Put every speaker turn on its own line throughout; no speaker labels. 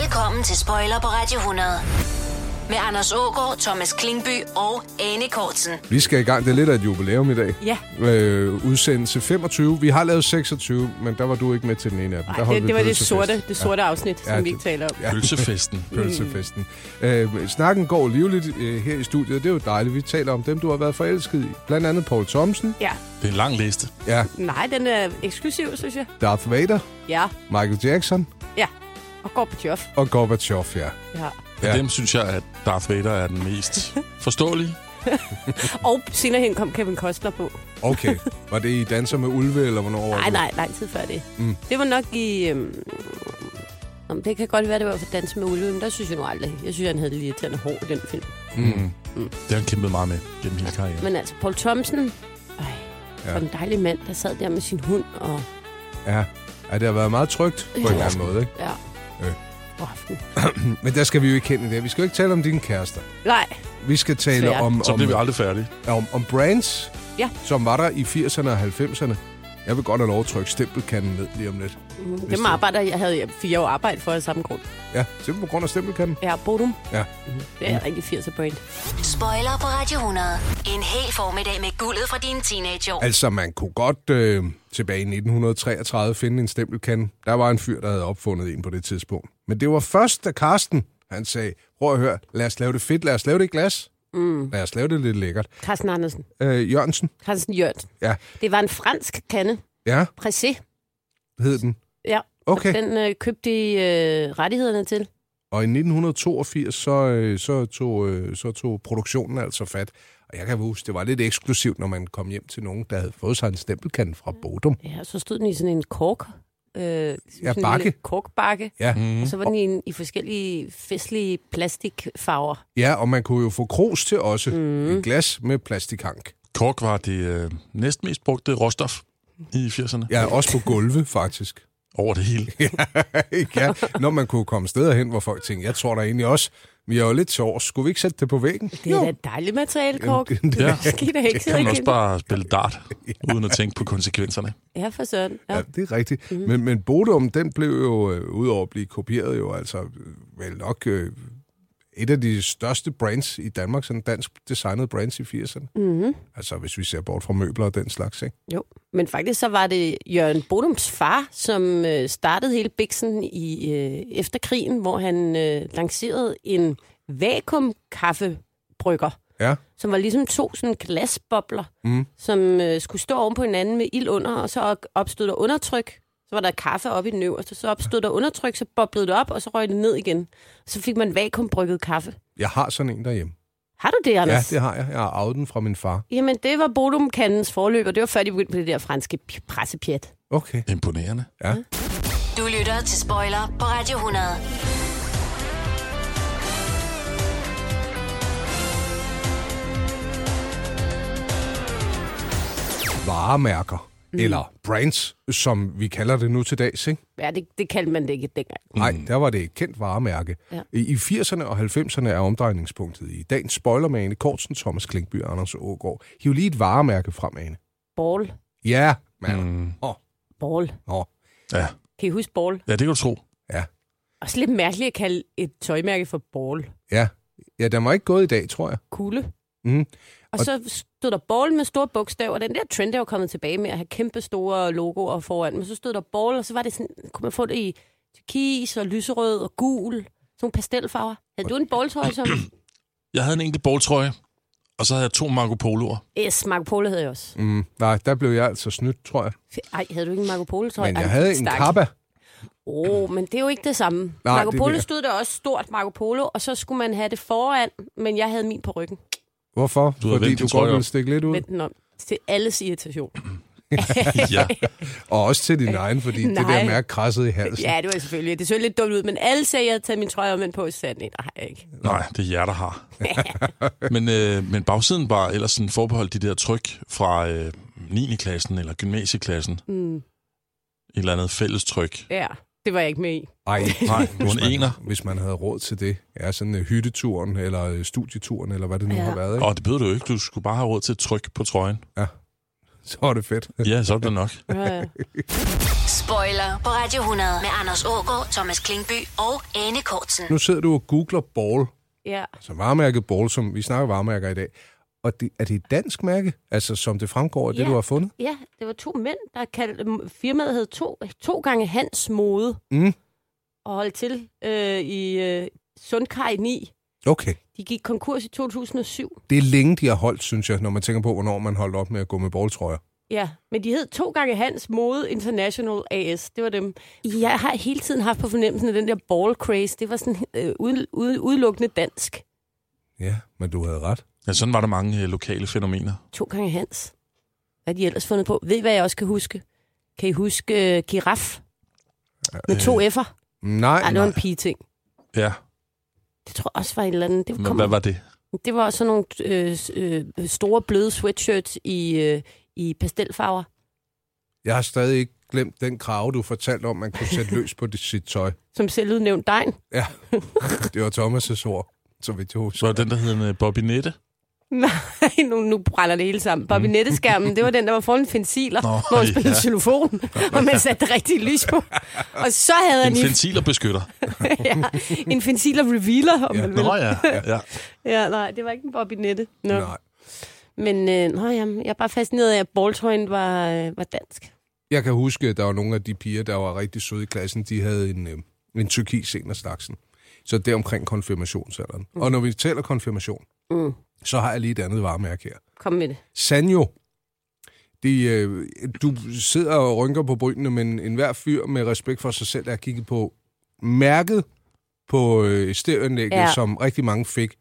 Velkommen til Spoiler på Radio 100. Med Anders Ågaard, Thomas Klingby og Anne Kortsen.
Vi skal i gang. Det er lidt af et jubilæum i dag.
Ja.
Øh, udsendelse 25. Vi har lavet 26, men der var du ikke med til den ene af dem. der
Nej,
holdt
det,
vi
det var det
pølsefest.
sorte, det sorte Mm. afsnit,
Ja,
som vi
det-
ikke taler om.
Pølsefesten.
pølsefesten. Øh, snakken går livligt øh, her i studiet, og det er jo dejligt. Vi taler om dem, du har været forelsket i. Blandt andet Paul Thomsen,
Ja.
Det er en lang liste.
ja,
Nej, den er eksklusiv, synes jeg.
Darth Vader,
Ja,
Michael Jackson
ja. Og går på job.
og Gorbachev, ja.
Ja.
Ja.
Ja.
Dem synes jeg, at Darth Vader er den mest forståelige.
Og senere hen kom Kevin Costner på.
Okay, var det i Danser med Ulve, eller hvornår? var
Nej,
det?
nej, lang tid før det. Mm. Det var nok i... Øhm, om det kan godt være, det var for Dans med Ulve, men der synes jeg nu aldrig. Jeg synes, han havde det lidt irriterende hår i den film.
Mm.
Mm. Det har han kæmpet meget med gennem hele karrieren.
Men altså, Paul Thomsen, øj, ja.
Ja.
var en dejlig mand, der sad der med sin hund og...
Ja. ja, det har været meget trygt på en eller anden måde. Ikke?
Ja.
Øh.
God aften.
Men der skal vi jo ikke hen i det. Vi skal jo ikke tale om dine kærester.
Nej,
Vi skal tale
Svært.
om,
Så
om,
bliver vi aldrig færdige.
om, om brands,
Ja.
som var der i 80'erne og 90'erne. Jeg vil godt have lov at trykke stempelkanden ned lige om lidt. Hvis
Mm, dem
det-
arbejder jeg havde jeg fire år arbejde for i samme grund.
Ja, simpelthen på grund af stempelkanden.
Ja, Bodum.
Ja.
Det
Mm.
er rigtig 80'er brand.
Spoiler på Radio 100. En hel formiddag med guldet fra dine teenageår.
Altså, man kunne godt øh, tilbage i 1933 finde en stempelkande. Der var en fyr, der havde opfundet en på det tidspunkt. Men det var først, da Karsten han sagde, prøv at høre, lad os lave det fedt, lad os lave det i glas. Mm. Lad os lave det lidt lækkert.
Carsten Andersen.
Øh, Jørgensen,
Carsten Jørgensen.
ja,
Det var en fransk kande.
ja,
Pressé.
hed den.
Ja.
Okay.
Den øh, købte de øh, rettighederne til.
Og i 1982, så, øh, så, tog, øh, så tog produktionen altså fat. Og jeg kan huske, det var lidt eksklusivt, når man kom hjem til nogen, der havde fået sig en stempelkande fra
Mm.
Bodum.
Ja, så stod den i sådan en kork. Øh, ja, sådan en
bakke.
lille korkbakke.
Ja.
Mm.
Og så var den i, en, i forskellige festlige plastikfarver.
ja, og man kunne jo få krus til også. Mm. Et glas med plastikank.
Kork var det øh, næstmest brugte råstof i 80'erne. Ja.
Ja, også på gulve, faktisk.
Over det hele.
ja, når man kunne komme steder hen, hvor folk tænkte, jeg tror der egentlig også, vi er jo lidt til års. Skulle vi ikke sætte det på væggen?
Det er da et dejligt materiale, kork.
det-
Ja.
Det skal I da ikke
Kan
sidde
man også
igennem.
bare spille dart, uden at tænke på konsekvenserne.
Ja, for søren. Ja.
Ja, det er rigtigt. Mm-hmm. Men, men Bodum, den blev jo, øh, udover at blive kopieret, jo altså øh, vel nok øh, et af de største brands i Danmark, sådan dansk designet brands i 80'erne. Mm-hmm. Altså hvis vi ser bort fra møbler og den slags, ikke?
Jo, men faktisk så var det Jørgen Bodums far, som øh, startede hele Bixen i øh, efter krigen, hvor han øh, lancerede en vakuumkaffebrygger,
Ja,
som var ligesom to sådan glasbobler, mm. som øh, skulle stå oven på hinanden med ild under, og så op- opstod der undertryk. Så var der kaffe op i den øverste, så opstod der undertryk, så boblede det op, og så røg det ned igen. Så fik man vakuumbrygget kaffe.
jeg har sådan en derhjemme.
Har du det,
Ja,
Anders?
det har jeg. Jeg har arvet den fra min far.
Jamen, det var Bodumkandens forløb, og det var før de begyndte på det der franske p- pressepjat.
Okay.
Imponerende.
Du lytter til Spoiler på Radio 100.
Varemærker, mm. eller brands, som vi kalder det nu til dags, ikke?
Ja, det, det kaldte man det ikke dengang.
Nej,
Mm.
der var det et kendt varemærke.
Ja.
I i 80'erne og 90'erne er omdrejningspunktet i dagens spoiler med Ane Kortsen, Thomas Klinkby og Anders Ågaard. Hiv lige et varemærke frem, Ane.
Ball.
Ja, mand. Mm.
Mm.
Ball.
Nå,
Ja.
Kan I huske ball?
ja, det kan du tro.
ja.
Også lidt mærkeligt at kalde et tøjmærke for ball.
ja. Ja, den var ikke gået i dag, tror jeg.
Kugle.
Mm.
Og, og så stod der ball med store bogstaver. Den der trend der var kommet tilbage med at have kæmpe store logoer foran. Men så stod der ball, og så var det sådan, kunne man få det i turkis og lyserød og gul. Sådan nogle pastelfarver. Havde du en balltrøje som?
Jeg havde en enkelt bogtrøje, og så havde jeg to Marco Polo'er.
yes, Marco Polo havde jeg også.
Mm. Nej, der blev jeg altså snydt, tror jeg.
Ej, havde du ikke en Marco Polo-trøje?
Men
Ej,
jeg havde en
stak.
kappa.
Åh, oh, men det er jo ikke det samme.
Nej,
Nej, Marco
det er
Polo
det.
stod der også stort Marco Polo, og så skulle man have det foran, men jeg havde min på ryggen.
Hvorfor?
Du havde
Fordi
vendt
du
din trøje
godt ville
op.
stikke lidt ud.
Vend den om. Til alles irritation.
Ja.
Og også til din egen, fordi det der
Nej.
mærke krassede i halsen.
Ja, det var selvfølgelig. Det så lidt dumt ud, men alle sagde, at jeg havde taget min trøje om på, så sagde jeg, nej, det har jeg ikke.
Nej, det er jer, der har. men, øh, men bagsiden var ellers sådan forbeholdt de der tryk fra øh, 9. klassen eller gymnasieklassen. Mm. Et eller andet fælles tryk.
Ja, det var jeg ikke med i.
Ej,
Nej, du er
hvis
en
man,
ener.
hvis man havde råd til det. Ja, sådan øh, hytteturen, eller øh, studieturen, eller hvad det nu ja.
Ja.
har været. Ikke?
Og det bød du jo ikke. Du skulle bare have råd til et tryk på trøjen.
Ja. så er det fedt.
Ja, så er det nok.
Ja, ja.
Spoiler på Radio 100 med Anders Ågaard, Thomas Klingby og Anne Kortsen.
Nu sidder du og googler ball,
ja.
altså varemærket ball, som vi snakker varemærker i dag. Og det, er det et dansk mærke, altså som det fremgår af det,
Ja.
du har fundet?
Ja, det var to mænd, der kaldte... m- Firmaet hed to, to gange Hans Mode.
Mm.
Og holdt til øh, i øh, Sundkaj 9.
Okay.
De gik konkurs i 2007.
Det er længe, de har holdt, synes jeg, når man tænker på, hvornår man holdt op med at gå med balltrøjer.
Ja, men de hed to gange Hans Mode International AS. Det var dem. Jeg har hele tiden haft på fornemmelsen af den der ball craze. Det var sådan øh, ude, ude, udelukkende dansk.
Ja, men du havde ret.
Ja, sådan var der mange øh, lokale fænomener.
To gange Hans. Hvad har de ellers fundet på? Ved I, hvad jeg også kan huske? Kan I huske øh, giraf? Med to F'er?
Nej,
Ej, det var
nej.
en pige-ting.
Ja,
Det tror jeg også var et eller andet. Det
men
kom
hvad var det?
Det var sådan nogle øh, s- øh, store, bløde sweatshirts i, øh, i pastelfarver.
Jeg har stadig ikke glemt den krave, du fortalte om, man kunne sætte løs på det, sit tøj.
Som selv udnævnt dig.
Ja, det var Thomas' ord, så vidt jeg
Så
husker.
var det den, der hed en, øh, Bobby Nette?
Nej, nu, nu brænder det hele sammen. Bobby Netteskærmen, det var den, der var foran fensiler,
Mm. Nå,
hvor han spillede
ja.
xylofon, og man satte det rigtige lys på. Og så havde han
En
en,
fensilerbeskytter.
ja, en fensiler revealer, om ja. man vil.
Nå ja, ja.
Ja, nej, det var ikke en Bobby Nette. No.
Nej.
Men øh, nå, jamen, jeg er bare fascineret af, at balltrøjen var, øh, var dansk.
Jeg kan huske, at der var nogle af de piger, der var rigtig søde i klassen, de havde en, øh, en tyrkis en af slagsen. Så det er omkring konfirmationsalderen. Mm. Og når vi taler konfirmation,
Mm.
så har jeg lige et andet varemærke her.
Kom med det.
Sanjo. De, øh, du sidder og rynker på brynene, men enhver fyr med respekt for sig selv er kigget på mærket på øh, stereoanlægget, ja.
Ja.
som rigtig mange fik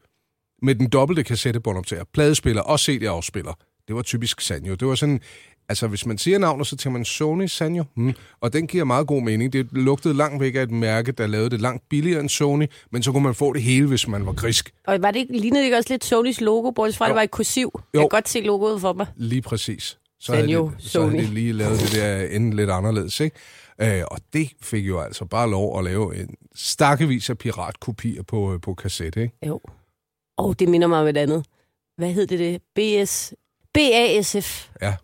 med den dobbelte kassettebåndoptager, pladespiller og CD-afspiller. Det var typisk Sanjo. Det var sådan, altså hvis man siger navnet, så tænker man Sony Sanjo, hmm. og den giver meget god mening. Det lugtede langt væk af et mærke, der lavede det langt billigere end Sony, men så kunne man få det hele, hvis man var grisk.
Og var det ikke, lignede det ikke også lidt Sonys logo, bortset fra, at
Jo.
det var et kursiv? Jo.
Jo.
Jeg kan godt se logoet for mig.
Lige præcis. Så
Sanyo,
havde, de, så havde
Sony.
de lige lavet det der enden lidt anderledes, ikke? Øh, og det fik jo altså bare lov at lave en stakkevis af piratkopier på, øh, på kassette, ikke?
Jo. Og oh, det minder mig om et andet. Hvad hed det det? BS... BASF.
Ja.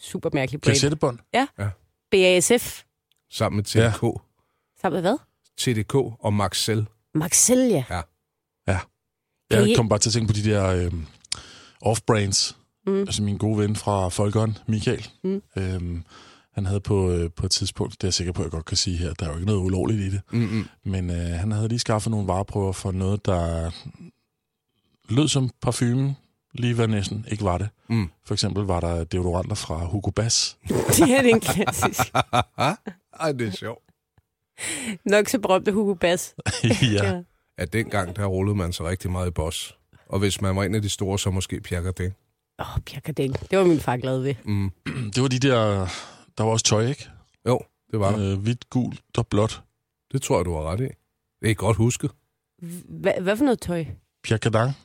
Super mærkelig brand.
Kassettebånd.
BASF.
Sammen med TDK, ja.
Sammen med hvad?
TDK og Maxell.
Maxelia. Kan I-
Jeg kom bare til at tænke på de der øh, off-brands.
Mm.
Mm. Altså min gode ven fra Folkeånd, Michael.
Mm.
Mm. Øhm, han havde på, øh, på et tidspunkt, det er jeg sikker på, at jeg godt kan sige her, der er jo ikke noget ulovligt i det,
Mm-hmm.
men øh, han havde lige skaffet nogle vareprøver for noget, der lød som parfume, lige hvad næsten ikke var det.
Mm.
For eksempel var der deodoranter fra Hugo Bass.
det er den klassisk.
Ej, det er sjovt.
Nok så berømte Hugo Bass.
ja.
At dengang, der rullede man så rigtig meget i boss. Og hvis man var en af de store, så måske pjakker det.
Åh, oh, Pierre Cardin. Det var min far glad ved.
Mm.
Det var de der, der var også tøj, ikke?
Jo, det var der.
Øh, hvidt, gult og blåt.
Det tror jeg, du har ret i. Det er godt husket.
Hva, hvad for noget tøj?
Pierre Cardin.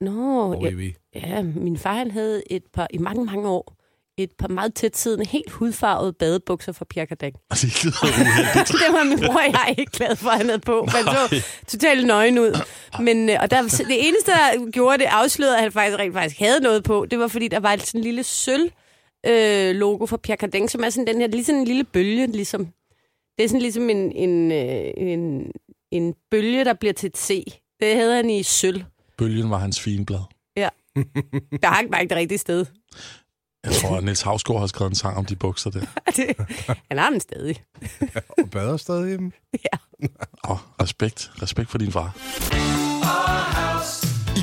Nå, ja,
Oh, vi.
ja, min far han havde et par, i mange, mange år, et par meget tætsiddende, helt hudfarvede badebukser fra Pierre Cardin.
Og det lyder uheldigt.
det var min bror og jeg ikke glad for, at han havde på. Man så totalt nøgen ud. Men, øh, og der, det eneste, der gjorde det afslørede, at han faktisk rent faktisk havde noget på, det var, fordi der var et sådan lille sølv øh, logo for Pierre Cardin, som er sådan den her, lige sådan en lille bølge, ligesom. Det er sådan ligesom en, en, øh, en, en bølge, der bliver til et C. Det havde han i sølv.
Bølgen var hans finblad.
Der hang bare ikke det rigtige sted.
Jeg tror, at Niels Havsgaard har skrevet en sang om de bukser der.
Det, han har den stadig.
Og bader stadig hjemme.
Åh, oh, respekt. Respekt for din far.
I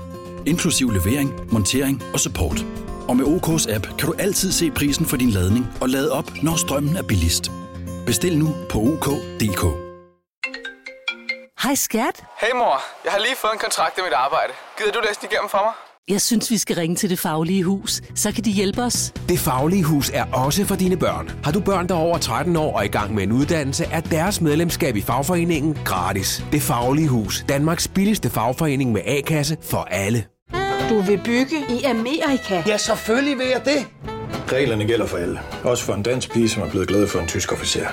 inklusiv levering, montering og support. Og med OK's app kan du altid se prisen for din ladning og lade op, når strømmen er billigst. Bestil nu på OK.dk.
Hej skat,
Hey mor, jeg har lige fået en kontrakt i mit arbejde. Gider du læse den igennem for mig?
Jeg synes, vi skal ringe til Det Faglige Hus. Så kan de hjælpe os.
Det Faglige Hus er også for dine børn. Har du børn, der er over 13 år og i gang med en uddannelse, er deres medlemskab i fagforeningen gratis. Det Faglige Hus. Danmarks billigste fagforening med A-kasse for alle.
Du vil bygge i Amerika?
Ja, selvfølgelig vil jeg det.
Reglerne gælder for alle. Også for en dansk pige, som er blevet glad for en tysk officer.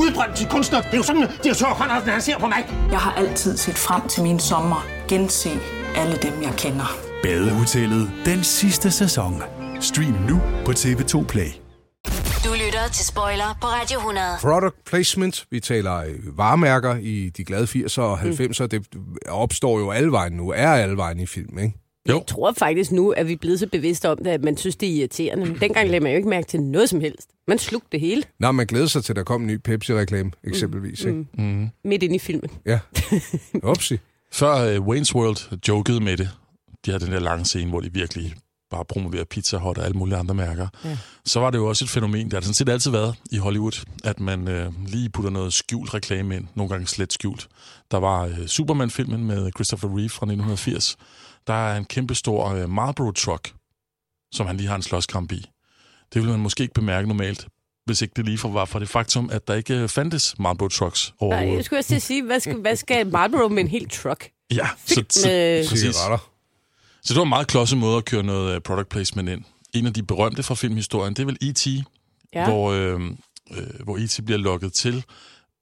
Udbrændt til kunstner. Det er jo sådan, at de har han ser på mig.
Jeg har altid set frem til min sommer. Gense alle dem, jeg kender.
Badehotellet. Den sidste sæson. Stream nu på TV2 Play.
Du lytter til Spoiler på Radio 100.
Product placement, vi taler øh, varemærker i de glade 80'er og 90'er, det opstår jo alle vejen nu, er alle vejen i film, ikke?
Jeg tror faktisk nu, at vi er blevet så bevidste om det, at man synes, det er irriterende. Men dengang lagde man jo ikke mærke til noget som helst. Man slugte det hele
Nej, man glæder sig til, at der kom en ny Pepsi-reklame, eksempelvis, ikke? Mm.
midt ind i filmen.
Ja. Upsi.
Før uh, Wayne's World jokede med det, de har den der lange scene, hvor de virkelig bare promoverer Pizza Hut og alle mulige andre mærker, ja. så var det jo også et fænomen, der har sådan set altid været i Hollywood, at man øh, lige putter noget skjult reklame ind, nogle gange slet skjult. Der var øh, Superman-filmen med Christopher Reeve fra 1980. Der er en kæmpestor øh, Marlboro-truck, som han lige har en slåskamp i. Det ville man måske ikke bemærke normalt, hvis ikke det lige for var fra det faktum, at der ikke øh, fandtes Marlboro-trucks
Nej, jeg
overhovedet.
skulle også til at sige, hvad skal, hvad skal Marlboro med en hel truck?
Ja, så,
Fyldt
så,
med-
præcis.
Cigaretter.
Så det var en meget klodset måde at køre noget øh, product placement ind. En af de berømte fra filmhistorien, det er vel E.T.,
Ja.
ja. hvor, øh, øh, hvor E.T. bliver lukket til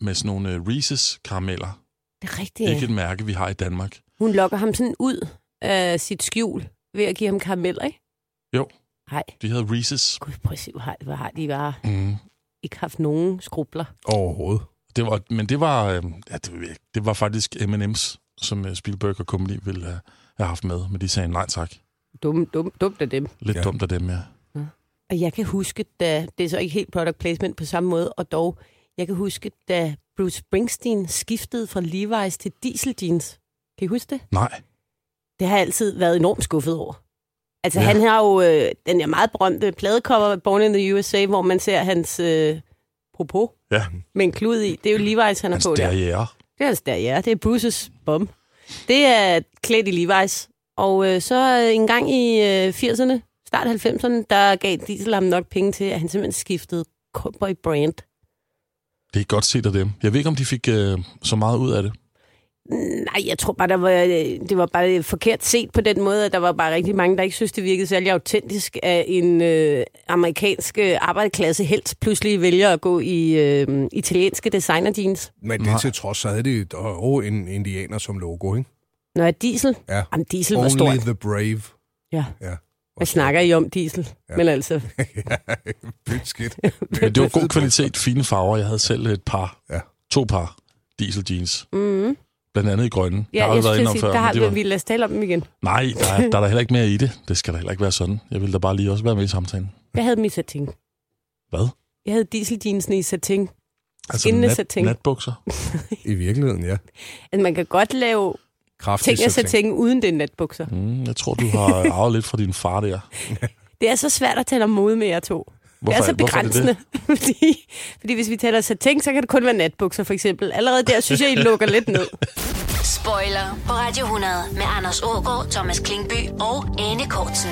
med sådan nogle øh, Reese's karameller.
Det er
Ja. Ikke
rigtigt.
et mærke, vi har i Danmark.
Hun lokker ham sådan ud af sit skjul ved at give ham karameller, ikke?
Jo,
Nej,
de hedder Reese's.
gud, prøv at se, hvor har, hvor har de bare
Mm.
ikke haft nogen skrubler.
Overhovedet.
Det var, men det var, øh, ja, det, ved jeg ikke. det var faktisk M&M's, som øh, Spielberg og Company ville have, have haft med, men de sagde nej tak.
Dum, dum, dumt af dem.
Lidt
Ja.
ja. dumt af dem, ja.
Og jeg kan huske, da, det er så ikke helt product placement på samme måde, og dog, jeg kan huske, da Bruce Springsteen skiftede fra Levi's til diesel jeans. Kan I huske det?
Nej.
Det har jeg altid været enormt skuffet over. Altså, ja.
Ja.
han har jo øh, den her meget berømte pladecover af Born in the USA, hvor man ser hans øh, propos
Ja, Altså,
med en klud i. Det er jo Levi's, han har
hans
på der.
derriere.
Det er altså der, ja. Det er Bruce's bum. Det er klædt i Levi's. Og øh, så øh, en gang i øh, 80'erne, start 90'erne, der gav Diesel ham nok penge til, at han simpelthen skiftede cowboy brand.
Det er godt set af dem. Jeg ved ikke, om de fik øh, så meget ud af det.
Nej, jeg tror bare, der var, øh, det var bare forkert set på den måde, at der var bare rigtig mange, der ikke synes, det virkede særlig autentisk, at en øh, amerikansk øh, arbejderklasse helst pludselig vælger at gå i øh, italienske designer jeans.
Men det til trods, så havde de et- åh, en indianer som logo, ikke?
Når jeg diesel,
Ja.
jamen diesel var stor.
Only the brave.
Ja.
Ja.
Hvad snakker I om, diesel? Ja. Men altså,
Pyt skidt.
Men det var god kvalitet, fine farver. Jeg havde selv et par,
Ja.
to par diesel jeans. Mm.
mm-hmm.
Blandt andet i grønne.
ja, jeg, jeg
været
synes,
inde om
sige,
før,
der
men
har
det var...
vi lad os tale om dem igen.
Nej, der er, der er der heller ikke mere i det. Det skal da heller ikke være sådan. Jeg ville da bare lige også være med i samtalen.
Jeg havde dem i satin.
Hvad?
Jeg havde dieseljeansene i satin.
Altså
Skinnende
nat,
satin.
natbukser?
I virkeligheden, ja.
Altså, man kan godt lave
Kraftigt
ting af satin uden den natbukser.
Mm, jeg tror, du har arvet lidt fra din far der.
Det er så svært at tale om mode med jer to.
Hvorfor-
det er så
hvorfor er det det?
begrænsende. det? fordi, fordi hvis vi taler satin, så kan det kun være natbukser, for eksempel. Allerede der synes jeg, I lukker lidt ned.
Spoiler på Radio 100 med Anders Ågaard, Thomas Klingby og Anne Kortsen.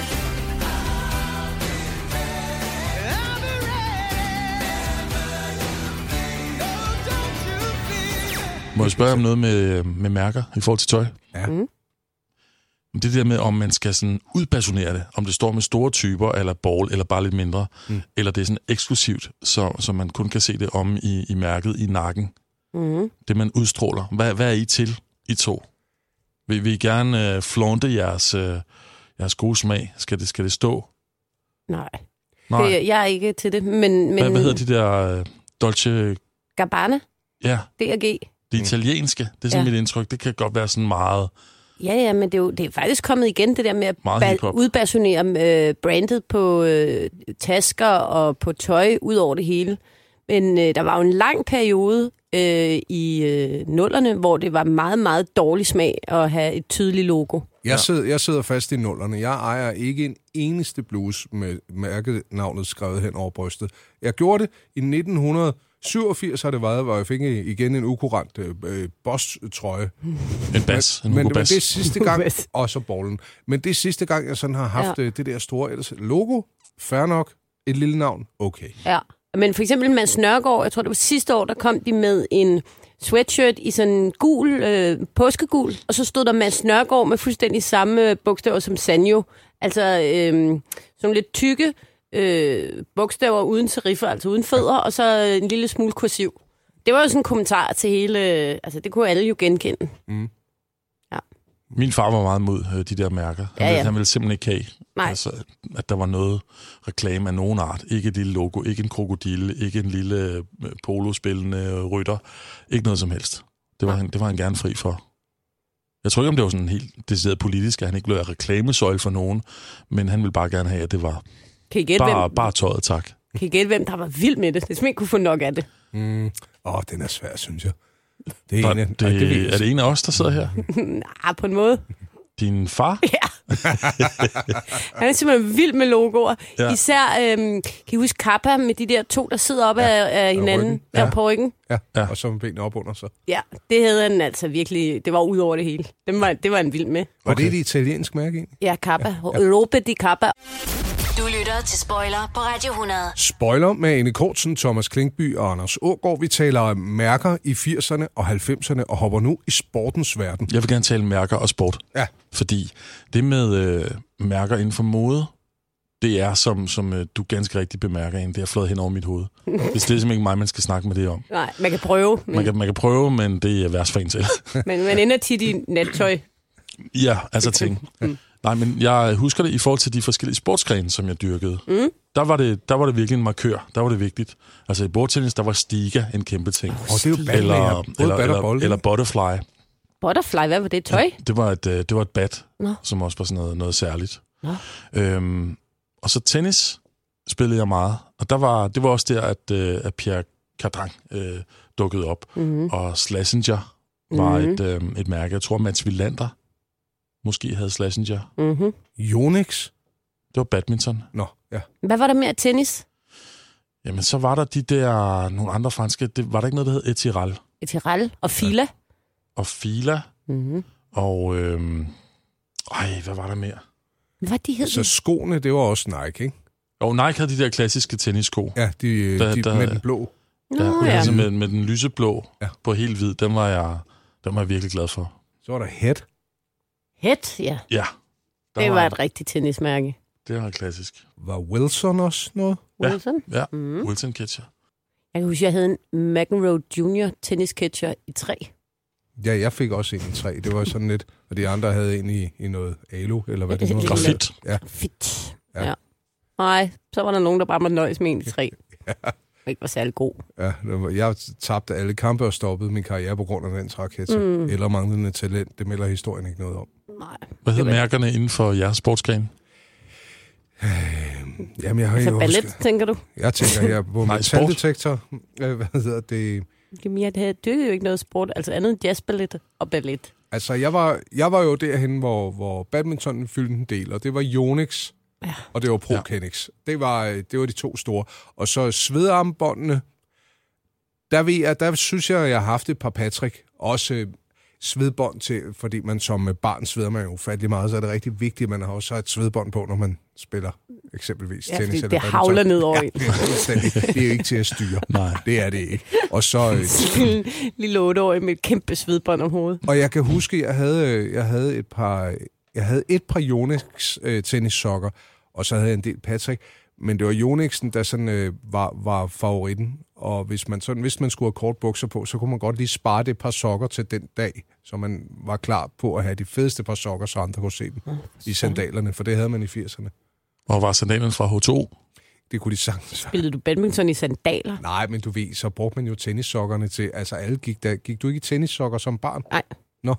Må jeg spørge om noget med, med mærker i forhold til tøj?
Ja.
Mm. Det der med, om man skal sådan udpersonere det, om det står med store typer, eller ball, eller bare lidt mindre, mm. eller det er sådan eksklusivt, så, så man kun kan se det om i, i mærket i nakken.
Mm-hmm.
Mm. Det, man udstråler. Hvad, hvad er I til, I to? Vil, vil I gerne øh, flaunte jeres, øh, jeres gode smag? Skal det, skal det stå?
Nej,
Nej.
Det, jeg er ikke til det. Men, men
Hvad, hvad hedder de der øh, Dolce...
Gabbana,
Ja,
DRG.
Mm.
de italienske. Det er sådan
Ja.
ja. mit indtryk. Det kan godt være sådan meget...
Ja, ja, men det er, jo, det er faktisk kommet igen, det der med at
Meget
ba-
hiphop.
udpersonere øh, brandet på øh, tasker og på tøj ud over det hele. Men øh, der var jo en lang periode øh, i øh, nullerne, hvor det var meget, meget dårlig smag at have et tydeligt logo.
Jeg sidder, jeg sidder fast i nullerne. Jeg ejer ikke en eneste bluse med mærkenavnet skrevet hen over brystet. Jeg gjorde det i 1997 87 har det været, hvor jeg fik igen en ukurant øh, boss-trøje.
En bas. En
men,
Hugo
men
Bas.
det er sidste gang, og så ballen. Men det er sidste gang, jeg sådan har haft
Ja.
ja. det der store ellers, logo. Fair nok. Et lille navn. Okay.
Ja. Men for eksempel Mads Nørgaard, jeg tror det var sidste år, der kom de med en sweatshirt i sådan en gul, øh, påskegul, og så stod der Mads Nørgaard med fuldstændig samme øh, bogstaver som Sanjo. Altså øh, sådan lidt tykke øh, bogstaver uden seriffer, altså uden fødder, og så øh, en lille smule kursiv. Det var jo sådan en kommentar til hele, øh, altså det kunne alle jo genkende.
Mm.
Ja.
Min far var meget mod øh, de der mærker. Han,
Ja,
ja,
ja.
ja. han ville simpelthen ikke have,
Nej.
Altså, at der var noget reklame af nogen art. Ikke et lille logo, ikke en krokodille, ikke en lille øh, polospillende øh, rytter. Ikke noget som helst. Det var, han, det var han gerne fri for. Jeg tror ikke, om det var sådan helt decideret politisk, at han ikke blev af reklamesøjle for nogen, men han ville bare gerne have, at det var
Kan I gætte,
bare,
hvem,
bare tøjet, tak.
kan I gætte, hvem der var vild med det? Det er simpelthen ikke kunne få nok af det.
Mm. Åh, den er svær, synes jeg. Det
Der-
er, en, af-
det-
Ej, ved jeg
er det en af os, der sidder her?
Nej, på en måde.
Din far?
Ja. Han er simpelthen vild med logoer. Ja.
Ja.
Især, øhm, kan I huske Kappa med de der to, der sidder op ja. af, af hinanden
ryggen. Ja.
ja. på ryggen?
Ja. ja, og så med benene op under sig.
Ja, det havde han altså virkelig. Det var ud over det hele. Det var, det var han vild med.
Var okay. det et italiensk mærke egentlig?
Ja, Kappa. Ja. Europa di Kappa.
Du lytter til Spoiler på Radio 100.
Spoiler med Anne Kortsen, Thomas Klinkby og Anders Ågaard. Vi taler om mærker i 80'erne og 90'erne og hopper nu i sportens verden.
Jeg vil gerne tale mærker og sport.
Ja.
Fordi det med øh, mærker inden for mode, det er, som, som øh, du ganske rigtigt bemærker, en, det er flået hen over mit hoved. det er simpelthen ikke mig, man skal snakke med det om.
Nej, man kan prøve, men
Man
man,
kan, man kan prøve, men det er værst for en selv.
men man ender tit i nattøj.
ja, altså ting.
Mm.
Nej, men jeg husker det i forhold til de forskellige sportsgrene, som jeg dyrkede.
Mm?
Der var, det, der var det virkelig en markør. Der var det vigtigt. Altså i bordtennis, der var stiga en kæmpe ting. Oh,
det er jo bat, det her.
eller,
Både
eller,
bat og
eller,
bold,
eller butterfly.
Butterfly, hvad var det? Tøj?
Det var et, øh, det var et bat,
Nå.
som også var sådan noget, noget særligt.
Nå.
Øhm, og så tennis spillede jeg meget. Og der var, det var også der, at, øh, at Pierre Cardin øh, dukkede op.
Mm-hmm.
Og Slasinger var
Mhm.
et, øh, et mærke. Jeg tror, Mats Villander måske havde Slasinger.
Mm-hmm.
Yonex?
Det var badminton.
Nå, ja.
Hvad var der mere tennis?
Jamen, så var der de der nogle andre franske. Det, var der ikke noget, der hed Etiral
Etirel og Fila?
og Fila?
Mm-hmm.
Og... Øh, ej, hvad var der mere?
Hvad de hed?
Så skoene, det var også Nike, ikke?
Og Nike havde de der klassiske tennissko.
Ja, de,
Der-
der, de
der-
der, med den blå.
Ja,
Nå, ja.
altså med, med den lyseblå ja. på helt hvid, den var, jeg, den var jeg virkelig glad for.
Så var der Head.
Head, ja.
Ja, der
Det
var-
var et rigtigt tennismærke.
det var klassisk.
Var Wilson også noget?
Wilson?
Ja,
Mhm.
mm. Wilson Catcher.
Jeg kan huske, jeg havde en McEnroe Junior tennisketcher i træ.
Ja, jeg fik også en i træ. Det var sådan lidt, og de andre havde en i, i noget alu, eller hvad det nu var.
Grafit.
Ja.
Fedt. Ja.
Ja.
ja. Nej, så var der nogen, der bare måtte nøjes med en i træ. ja. Ikke var særlig god.
Ja, det var- jeg tabte alle kampe og stoppede min karriere på grund af den trakette. Mm. Eller manglende talent, det melder historien ikke noget om.
Nej.
Hvad hed
Det var-
mærkerne inden for jeres sportsgren?
Jamen, jeg har
Så
ikke
Altså, ballet,
husket.
tænker du?
Jeg tænker her på
Nej, sport.
metaldetektor. Øh, Hvad hedder det?
Jamen, jeg havde dyrket jo ikke noget sport, altså andet end jazzballet og ballet.
Altså, jeg var, jeg var jo derhen, hvor, hvor badmintonen fyldte en del, og det var Yonex, ja. og det var Prokenix. Ja. Det, var, øh, det var de to store. Og så svedarmbåndene, der, ved jeg, der synes jeg, jeg har haft et par Patrick. Også øh, svedbånd til, fordi man som øh, barn sveder man jo ufattelig meget, så er det rigtig vigtigt, at man har også har et svedbånd på, når man spiller eksempelvis
Ja,
tennis.
fordi
eller
det
badminton.
havler ned over
ja,
en.
det, er fuldstændig- det er jo ikke til at styre.
Nej.
Det er det ikke. Og så... øh,
Lille otteårig med et kæmpe svedbånd om hovedet.
og jeg kan huske, jeg havde, øh, jeg havde et par, jeg havde et par Yonex øh, tennissokker, og så havde jeg en del Patrick, men det var Yonexen, der sådan, øh, var, var favoritten. Og hvis man, sådan, hvis man skulle have kort bukser på, så kunne man godt lige spare det par sokker til den dag, så man var klar på at have de fedeste par sokker, så andre kunne se dem i sandalerne, for det havde man i 80'erne.
Og var sandalen fra H2?
Det kunne de sagtens.
Spillede du badminton i sandaler?
Nej, men du ved, så brugte man jo tennissokkerne til, altså alle gik der, gik du ikke i tennissokker som barn?
Nej.
Nå,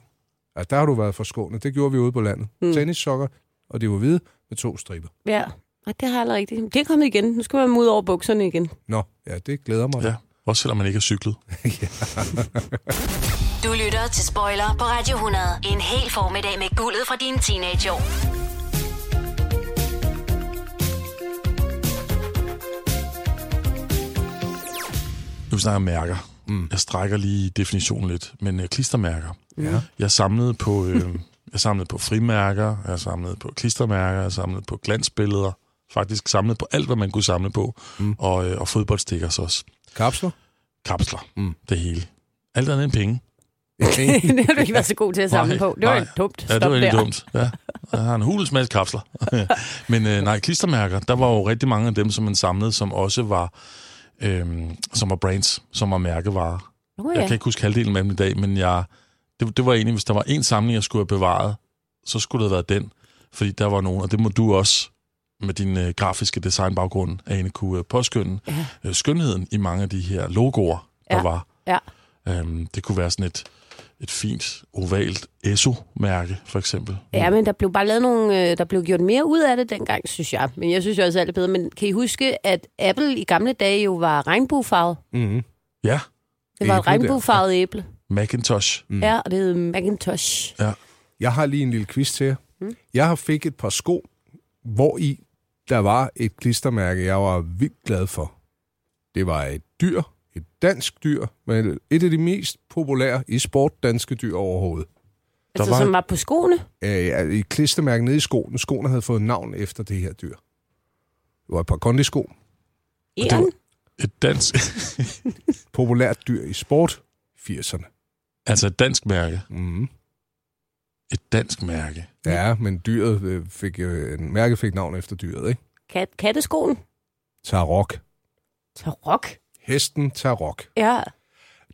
ja, der har du været forskånet. Det gjorde vi ude på landet. Mm. Tennissokker, og det var hvide med to striber.
Ja, Ej, det har jeg aldrig rigtigt. Det er kommet igen. Nu skal man ud over bukserne igen.
Nå, ja, det glæder mig.
Ja, også selvom man ikke har cyklet.
Du lytter til Spoiler på Radio 100. En hel formiddag med guldet fra dine teenageår.
Nu snakker mærker. Mm. Jeg strækker lige definitionen lidt, men øh, klistermærker.
Mhm.
Ja.
Jeg samlede på, øh, jeg samlede på frimærker, jeg samlede på klistermærker, jeg samlede på glansbilleder. Faktisk samlede på alt, hvad man kunne samle på. Mm. Og, øh, og fodboldstickers også.
Kapsler?
Kapsler. Mm. Det hele. Alt andet end penge.
det har du ikke været så god til at samle
Nej,
på. Det var
nej.
helt dumt. Stop
Ja, det var
der.
egentlig dumt. Ja. Jeg har en hulens masse kapsler. Men øh, nej, klistermærker, der var jo rigtig mange af dem, som man samlede, som også var, øh, som var brands, som var mærkevarer.
Nå ja.
Jeg kan ikke huske halvdelen af dem i dag, men jeg, det, det var egentlig, hvis der var en samling, jeg skulle have bevaret, så skulle det have været den. Fordi der var nogen, og det må du også med din øh, grafiske designbaggrund, Ane, kunne øh, påskynde ja. øh, skønheden i mange af de her logoer, der
Ja.
var.
Ja.
Øhm, det kunne være sådan et, et fint, ovalt ESO-mærke, for eksempel.
Ja, men der blev bare lavet nogle, øh, der blev gjort mere ud af det dengang, synes jeg. Men jeg synes jo også alt er bedre. Men kan I huske, at Apple i gamle dage jo var regnbuefarvet?
Mm-hmm. Ja,
Det
Æble
var et
der.
regnbuefarvet æble.
Macintosh.
Mm. Ja, og det hed Macintosh.
Ja.
Jeg har lige en lille quiz til jer.
Mm.
Mm. Jeg har fik et par sko, hvor i der var et klistermærke, jeg var vildt glad for. Det var et dyr, et dansk dyr, men et af de mest populære i sport danske dyr overhovedet.
Der altså, var... som var på skoene.
øh, et klistermærke nede i skoen. Skoene havde fået navn efter det her dyr. Det var et par kondisko.
Eren.
Et dansk...
Populært dyr i sport. 80'erne.
Altså et dansk mærke.
Mm.
Et dansk mærke.
Ja, men dyret øh, fik, øh, mærket fik navn efter dyret, ikke?
Kat, katteskoen.
Tarok.
Tarok?
Hesten Tarok.
Ja,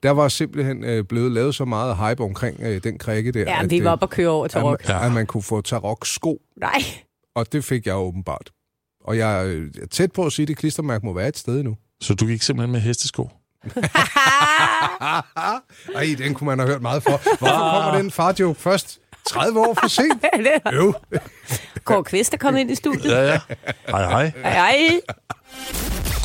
Der var simpelthen øh, blevet lavet så meget hype omkring øh, den krikke der.
ja vi var oppe at køre over
at,
Tarok.
at, man- at man kunne få Tarok-sko,
Nej.
og det fik jeg åbenbart. Og jeg øh, er tæt på at sige, at det klistermærke må være et sted nu.
Så du gik simpelthen med hestesko?
Ah,
Ej, den kunne man have hørt meget for. Hvorfor kommer den farjoke først 30 år for sent? Øv.
Kåre Kvist er kommet ind i studiet.
Ja, ja. Hej, hej.
Ej,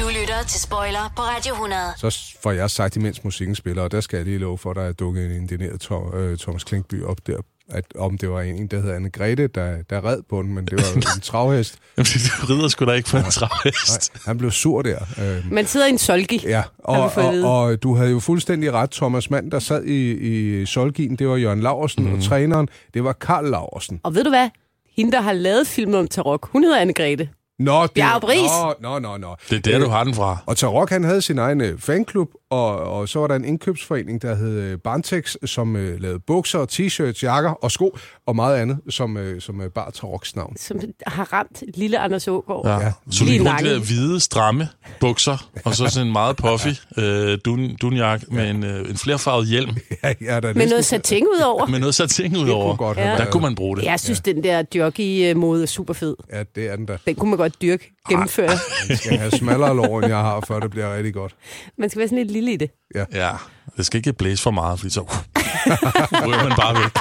Du lytter til Spoiler på Radio 100.
Så får jeg sagt, imens musikken spiller, og der skal jeg lige love for, at der er dukket en indineret Tom, øh, Thomas Klinkby op der, at om det var en, der hed Anne Grete, der, der red på den, men det var en travhest.
Jamen, du rider sgu da ikke på en travhest.
Nej, han blev sur der. Øh,
Man sidder i en solgi.
Ja, og,
vi fået at
og,
vide.
og, du havde jo fuldstændig ret. Thomas Mand, der sad i, i Solgin, det var Jørgen Laursen,
Mhm.
mm. og træneren, det var Karl Laursen.
Og ved du hvad? Hende, der har lavet filmen om Tarok, hun hedder Anne-Grethe.
Nå, det,
Bjarge Riis.
Nå, nå, nå, nå.
Det er der, du har den fra.
Og Tarok, han havde sin egen øh, fanklub, og, og så var der en indkøbsforening, der hed øh, Barntex, som øh, lavede bukser, t-shirts, jakker og sko, og meget andet, som, øh, som øh, bar Taroks navn.
Som har ramt lille Anders Ågaard.
Ja. Så du
Lige
gik rundt
nakken.
der hvide, stramme bukser, og så sådan en meget puffy øh, dun, dunjak med en, øh, en flerfarvet hjelm.
Ja, ja, der
Med noget satin ud over.
Med noget sat ting ud over.
godt
have
Der
været.
kunne man bruge det.
Jeg synes, den der jockey-mode er super fed.
Ja, det er den der.
Den kunne man godt dyrke, gennemføre.
Man skal have smallere lår, end jeg har, før det bliver rigtig godt.
Man skal være sådan lidt lille i det.
Ja, det skal ikke blæse for meget, fordi så ryger man bare væk.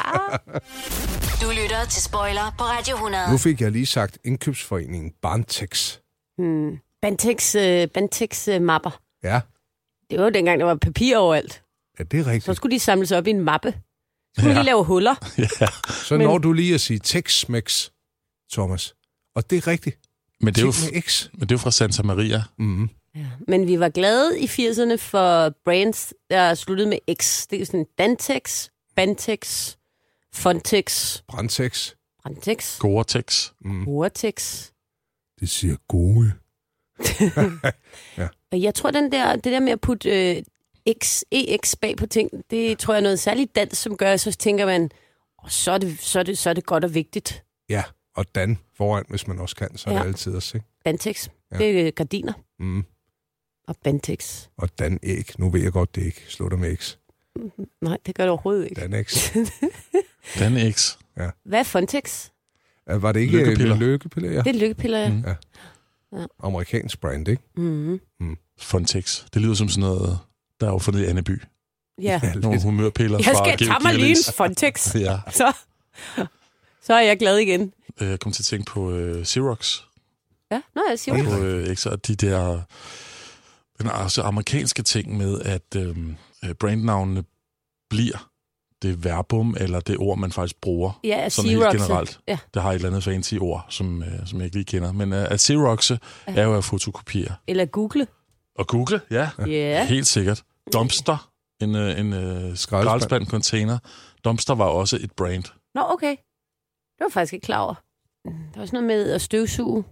Du lytter til Spoiler på Radio 100.
Nu fik jeg lige sagt indkøbsforeningen Barntex.
Hmm. Bantex, øh, Bantex øh, mapper.
Ja,
Det var jo dengang, der var papir overalt.
ja det er
Så
rigtigt.
skulle de samles op i en mappe. Så skulle ja.
Ja.
de lave huller.
Ja.
Så
Men-
når du lige at sige Tex-Mex, Thomas. Og det er rigtigt.
Men det er jo f-
Tex-Mex.
men det er jo fra Santa Maria.
Mm-hmm.
Men vi var glade i 80'erne for brands, der sluttede med X. Det er sådan Dantex, Bantex, Fontex,
Brandtex.
Brantex,
Gore-Tex.
Vortex.
Det siger gode.
Og jeg tror, den der, det der med at putte øh, X, EX bag på ting, det tror jeg er noget særligt dansk, som gør, at så tænker man, oh, så, er det, så, er det, så er det godt og vigtigt.
Ja, og Dan foran, hvis man også kan, så er det
Ja.
altid også, ikke?
Bantex, ja.
Ja.
det er øh, gardiner
Mm.
og Bantex.
Og Dan æg. Nu ved jeg godt, det ikke slutter med X.
Nej, det gør det overhovedet ikke.
Dan X.
Dan X.
Hvad er Fontex?
Øh, Var det ikke
Lykkepiller.
lykkepiller? lykkepiller ja.
Det er lykkepiller, ja.
Mm.
Amerikansk brand, ikke?
Mm-hmm.
Fontex. Det lyder som sådan noget, der er jo fundet i Anneby.
ja.
Nogle humørpiller
Jeg
fra
skal tage mig lige en Fontex,
Ja.
så, så er jeg glad igen.
Øh, Jeg kom til at tænke på øh, Xerox.
Ja, nå, jeg siger det.
På, øh, ikke, så de der den altså amerikanske ting med, at øh, øh, brandnavnene bliver det verbum, eller det ord, man faktisk bruger.
Ja,
sådan helt
Xerox'e.
generelt.
Ja.
Det har et eller andet fancy ord, som, øh, som jeg ikke lige kender. Men øh, at Xerox'e er jo at fotokopiere.
Eller Google.
Og google, ja.
Ja.
Helt sikkert. Dumpster, en, øh, en øh, skraldespand container. Dumpster var også et brand.
Nå, okay. Det var jeg faktisk ikke klar over. Der var sådan noget med at støvsuge.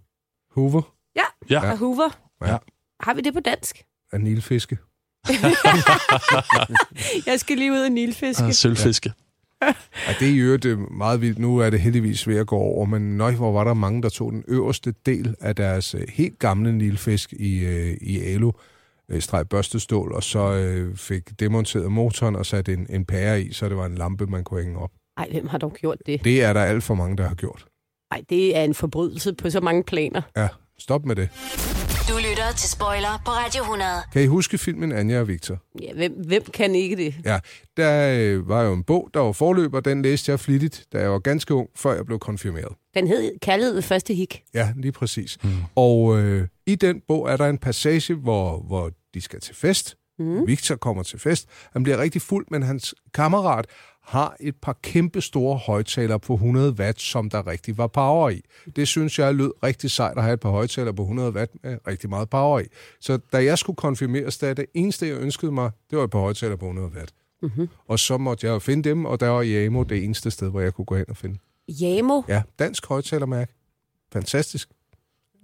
Hoover
Ja,
Ja.
og hoover.
Ja.
Har vi det på dansk?
af nilfiske.
Jeg skal lige ud og nilfiske.
Ja, det er i øvrigt øh, meget vildt. Nu er det heldigvis ved at gå over, men nøj, hvor var der mange, der tog den øverste del af deres øh, helt gamle nilfisk i, øh, i alu øh, streg børstestål, og så øh, fik demonteret motoren og sat en, en pære i, så det var en lampe, man kunne hænge op.
Ej, hvem har dog gjort det?
Det er der alt for mange, der har gjort.
Ej, det er en forbrydelse på så mange planer.
Ja, stop med det.
Du lytter til Spoiler på Radio 100.
Kan I huske filmen Anja og Victor?
Ja, hvem, hvem kan ikke det?
Ja, der øh, var jo en bog, der var forløber, den læste jeg flittigt, da jeg var ganske ung, før jeg blev konfirmeret.
Den hed Kærlighed ved første hik.
Ja, lige præcis. Mm. Og øh, i den bog er der en passage, hvor, hvor de skal til fest.
Mm.
Victor kommer til fest. Han bliver rigtig fuld, men hans kammerat har et par kæmpe store højtalere på 100 watt, som der rigtig var power i. Det synes jeg lød rigtig sejt at have et par højtalere på 100 watt med rigtig meget power i. Så da jeg skulle konfirmeres, da det eneste, jeg ønskede mig, det var et par højtalere på 100 watt.
Mm-hmm.
Og så måtte jeg jo finde dem, og der var Jamo det eneste sted, hvor jeg kunne gå hen og finde.
Jamo?
Ja, dansk højtalermærke. Fantastisk.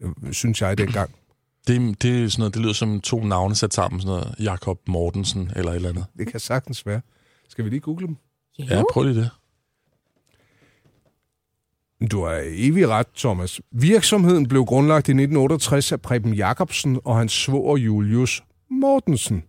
Øh, Synes jeg dengang.
Det, det, er sådan noget, det lyder som to navne sat sammen, sådan noget Jakob Mortensen eller et eller andet.
Det kan sagtens være. Skal vi lige google dem?
Ja, prøv lige det.
Du har evig ret, Thomas. Virksomheden blev grundlagt i 1968 af Preben Jacobsen og hans svoger Julius Mortensen.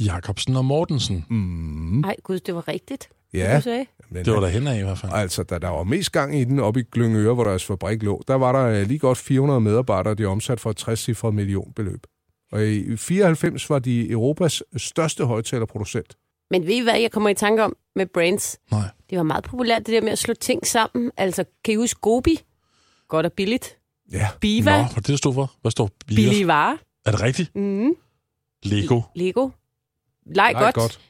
Jacobsen og Mortensen.
Mm.
Ej, gud, det var rigtigt.
Ja.
det du sagde.
Men,
Det var der hen af i hvert fald.
Altså, da der var mest gang i den oppe i Glyngøre, hvor deres fabrik lå, der var der øh, lige godt 400 medarbejdere, de omsat for et 60 millionbeløb. Og i 94 var de Europas største højtalerproducent.
Men ved I hvad, jeg kommer i tanke om med brands?
Nej.
Det var meget populært, det der med at slå ting sammen. Altså, kan I huske Gobi? Godt og billigt.
Ja.
Biva?
Nå, hvad det stod for? Hvad står Biva?
Billige varer.
Er det rigtigt?
Mm.
Lego.
Lego. Leg godt.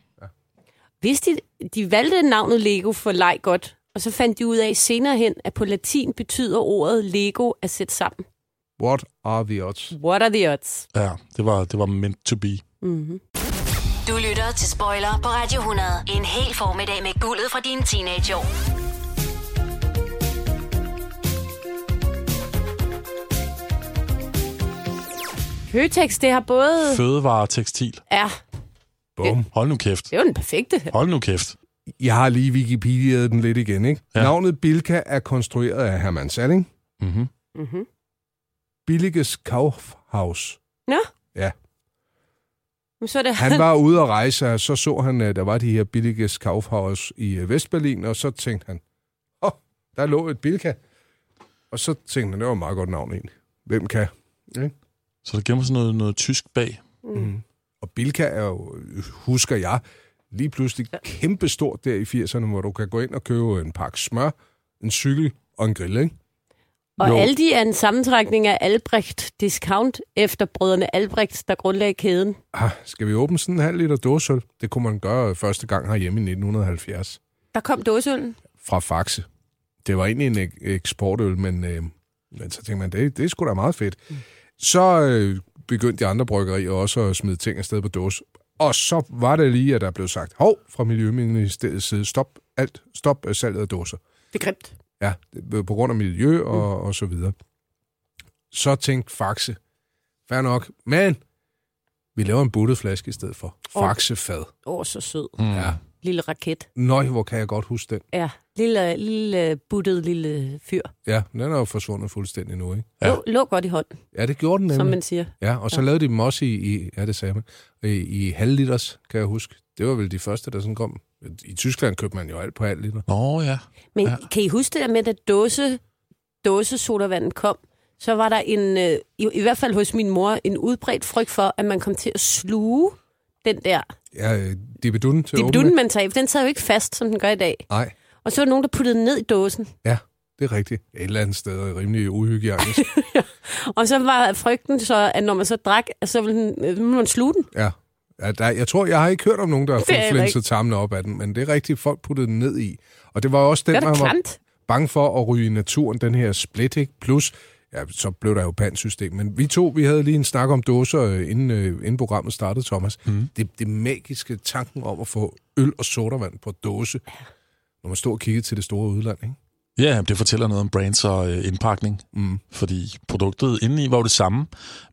Vidste de, de valgte navnet Lego for leg godt, og så fandt de ud af senere hen, at på latin betyder ordet Lego at sætte sammen.
What are the odds?
What are the odds?
Ja, det var, det var meant to be.
Mm-hmm.
Du lytter til Spoiler på Radio 100. En hel formiddag med guldet fra dine teenageår.
Føtex, det har både...
Fødevare og tekstil.
Ja,
Bum.
Hold nu kæft.
det er jo den perfekte.
Hold nu kæft.
Jeg har lige Wikipedia'et den lidt igen, ikke? Ja. Navnet Bilka er konstrueret af Hermann Salling.
Mm-hmm.
Mm-hmm.
Billiges Kaufhaus.
Nå,
Ja.
men så er det...
Han var ude at rejse, og så så han, at der var de her Billiges Kaufhaus i øh, Vestberlin, og så tænkte han, åh, oh, der lå et Bilka. Og så tænkte han, det var et meget godt navn egentlig. Hvem kan? Ikke?
Så der gemmer sådan noget, noget tysk bag.
Mm. Og Bilka er jo, øh, husker jeg, lige pludselig kæmpestort der i 80'erne, hvor du kan gå ind og købe en pakke smør, en cykel og en grill, ikke?
Og
Jo.
jo. Aldi er en sammentrækning af Albrecht Discount efter brødrene Albrecht, der grundlagde kæden.
Ah, skal vi åbne sådan en halv liter dåsøl? Det kunne man gøre første gang herhjemme i 1970
Der kom dåseøllen.
fra Faxe. Det var egentlig en ek- eksportøl, men, øh, men så tænkte man, det, det er sgu da meget fedt. Mm. Så øh, begyndte de andre bryggerier også at smide ting afsted på dåse. Og så var det lige, at der blev sagt, hov, fra Miljøministeriets side, stop alt, stop øh, salget af dåser.
Det er grimt.
Ja, det- på grund af miljø og, mm. og så videre. Så tænkte Faxe, fair nok, men vi laver en buttet flaske i stedet for.
Og-
Faxefad.
Åh, oh, så sød.
Mm. Ja.
Lille raket.
Nøj, hvor kan jeg godt huske den.
Ja, lille, lille buttet lille fyr.
Ja, den er jo forsvundet fuldstændig nu, ikke?
Ja. Lå, lå godt i hånden,
Ja, det gjorde den nemlig.
som man siger.
Ja, og så ja. lavede de dem også i, i ja, det sagde man, i, i halvliters, kan jeg huske. Det var vel de første, der sådan kom. I Tyskland købte man jo alt på halv liter.
Nå ja.
Men ja. kan I huske det der med, at dåse, dåsesodavandet kom? Så var der en, øh, i, i hvert fald hos min mor, en udbredt frygt for, at man kom til at sluge den der.
Ja, dibedun til at
Det er
åbne
beduden,
med.
man tager i, for den sad jo ikke fast, som den gør i dag.
Nej,
Og så var der nogen, der puttede den ned i dåsen.
ja, det er rigtigt. Et eller andet sted er rimelig uhygiejnisk.
Og så var frygten så, at når man så drak, at så ville, den, øh, ville man sluge den.
ja. ja der, jeg tror, jeg har ikke hørt om nogen, der har
Det er
fået
heller
flænset
ikke.
tarmene op af den, men det er rigtigt, folk puttede den ned i. Og det var også den,
Det er da
man var
klamt.
bange for at ryge i naturen, den her split, ikke? Plus, ja, så blev der jo pansystem. Men vi to, vi havde lige en snak om dåser, øh, inden, øh, inden programmet startede, Thomas. Mm. Det, det magiske tanken om at få øl og sodavand på dåse, når man stod og kiggede til det store udland, ikke?
Ja, jamen, det fortæller noget om brands og øh, indpakning, mm. fordi produktet indeni var jo det samme,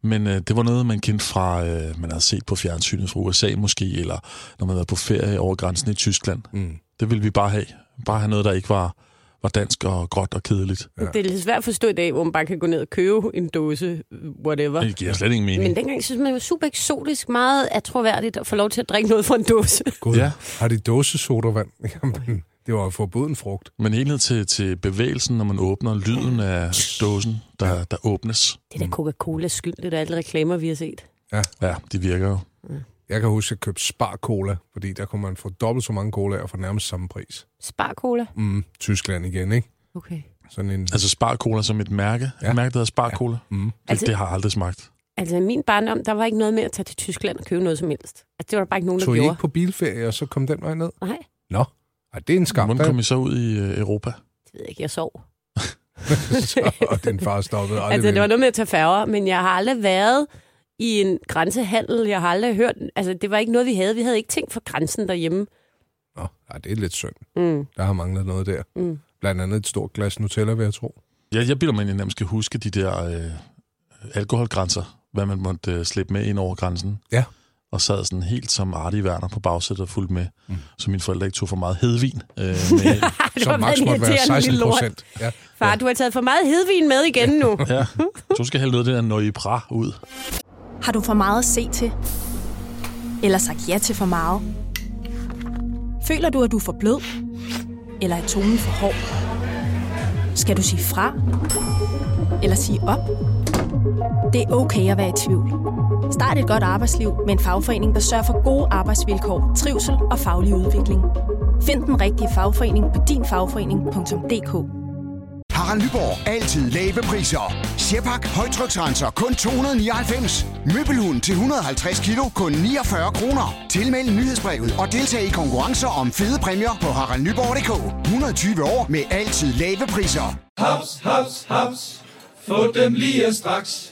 men øh, det var noget, man kendte fra, øh, man havde set på fjernsynet fra USA måske, eller når man havde været på ferie over grænsen i Tyskland. Mm. Det ville vi bare have. Bare have noget, der ikke var, var dansk og gråt og kedeligt.
Ja. Det er lidt svært at forstå i dag, hvor man bare kan gå ned og købe en dåse, whatever.
Det giver slet ingen mening.
Men dengang synes man, det var super eksotisk, meget atroværdigt at få lov til at drikke noget fra en dåse.
God, ja. Har de dåsesodavand? Jamen, det var forbuden frugt.
Men helt ned til, til bevægelsen, når man åbner lyden af dåsen, der, der åbnes.
Det
Mm.
er da Coca-Cola skyld, det er da alle reklamer, vi har set.
Ja.
Ja, de virker jo.
Jeg kan huske, at jeg købte Spar Cola, fordi der kunne man få dobbelt så mange colaer for nærmest samme pris.
Spar cola.
Mm, Tyskland igen, ikke?
Okay.
Sådan en...
Altså Spar-Cola som et mærke. Ja. Et mærke, der hedder Spar-Cola. Ja. Mm. Det,
Altså-
altså, det har jeg aldrig smagt.
Altså i min barndom, der var ikke noget med at tage til Tyskland og købe noget som helst. Altså det var der bare ikke nogen, der
Tog I
gjorde.
ikke på bilferie, og så kom den vej ned?
Nej,
Nå, Ej, det er en skam.
Hvordan
Der-
kom I så ud i øh, Europa?
det ved jeg ikke, jeg sov.
så, og din far stoppede aldrig
Altså det var
med.
noget med at tage færger, men jeg har aldrig været i en grænsehandel. Jeg har aldrig hørt, altså det var ikke noget, vi havde. Vi havde ikke ting for grænsen derhjemme.
Nå, ej, det er lidt synd.
Mm.
Der har manglet noget der.
Mm.
Blandt andet et stort glas Nutella, vil jeg tro.
Jeg, jeg bilder mig ind, at jeg nærmest skal huske de der øh, alkoholgrænser, hvad man måtte øh, slippe med ind over grænsen.
Ja.
Og sad sådan helt som Artie Werner på bagsædet og fulgte med, mm. så mine forældre ikke tog for meget hedvin. Øh, med.
Det var meget irriterende lille lort.
Ja.
Far, du har taget for meget hedvin med igen nu.
ja. Så du skal hælde noget af det der nøjebra ud.
Har du for meget at se til? Eller sagt ja til for meget? Føler du, at du er for blød? Eller er tonen for hård? Skal du sige fra? Eller sige op? Det er okay at være i tvivl. Start et godt arbejdsliv med en fagforening, der sørger for gode arbejdsvilkår, trivsel og faglig udvikling. Find den rigtige fagforening på dinfagforening.dk.
Harald Nyborg. Altid lave priser. Sjehpak. Højtryksrenser. Kun 299. Møbelhund til 150 kilo. Kun 49 kroner. Tilmeld nyhedsbrevet og deltag i konkurrencer om fede præmier på haraldnyborg.dk. 120 år med altid lave priser.
Haps, haps, haps. Få dem lige straks.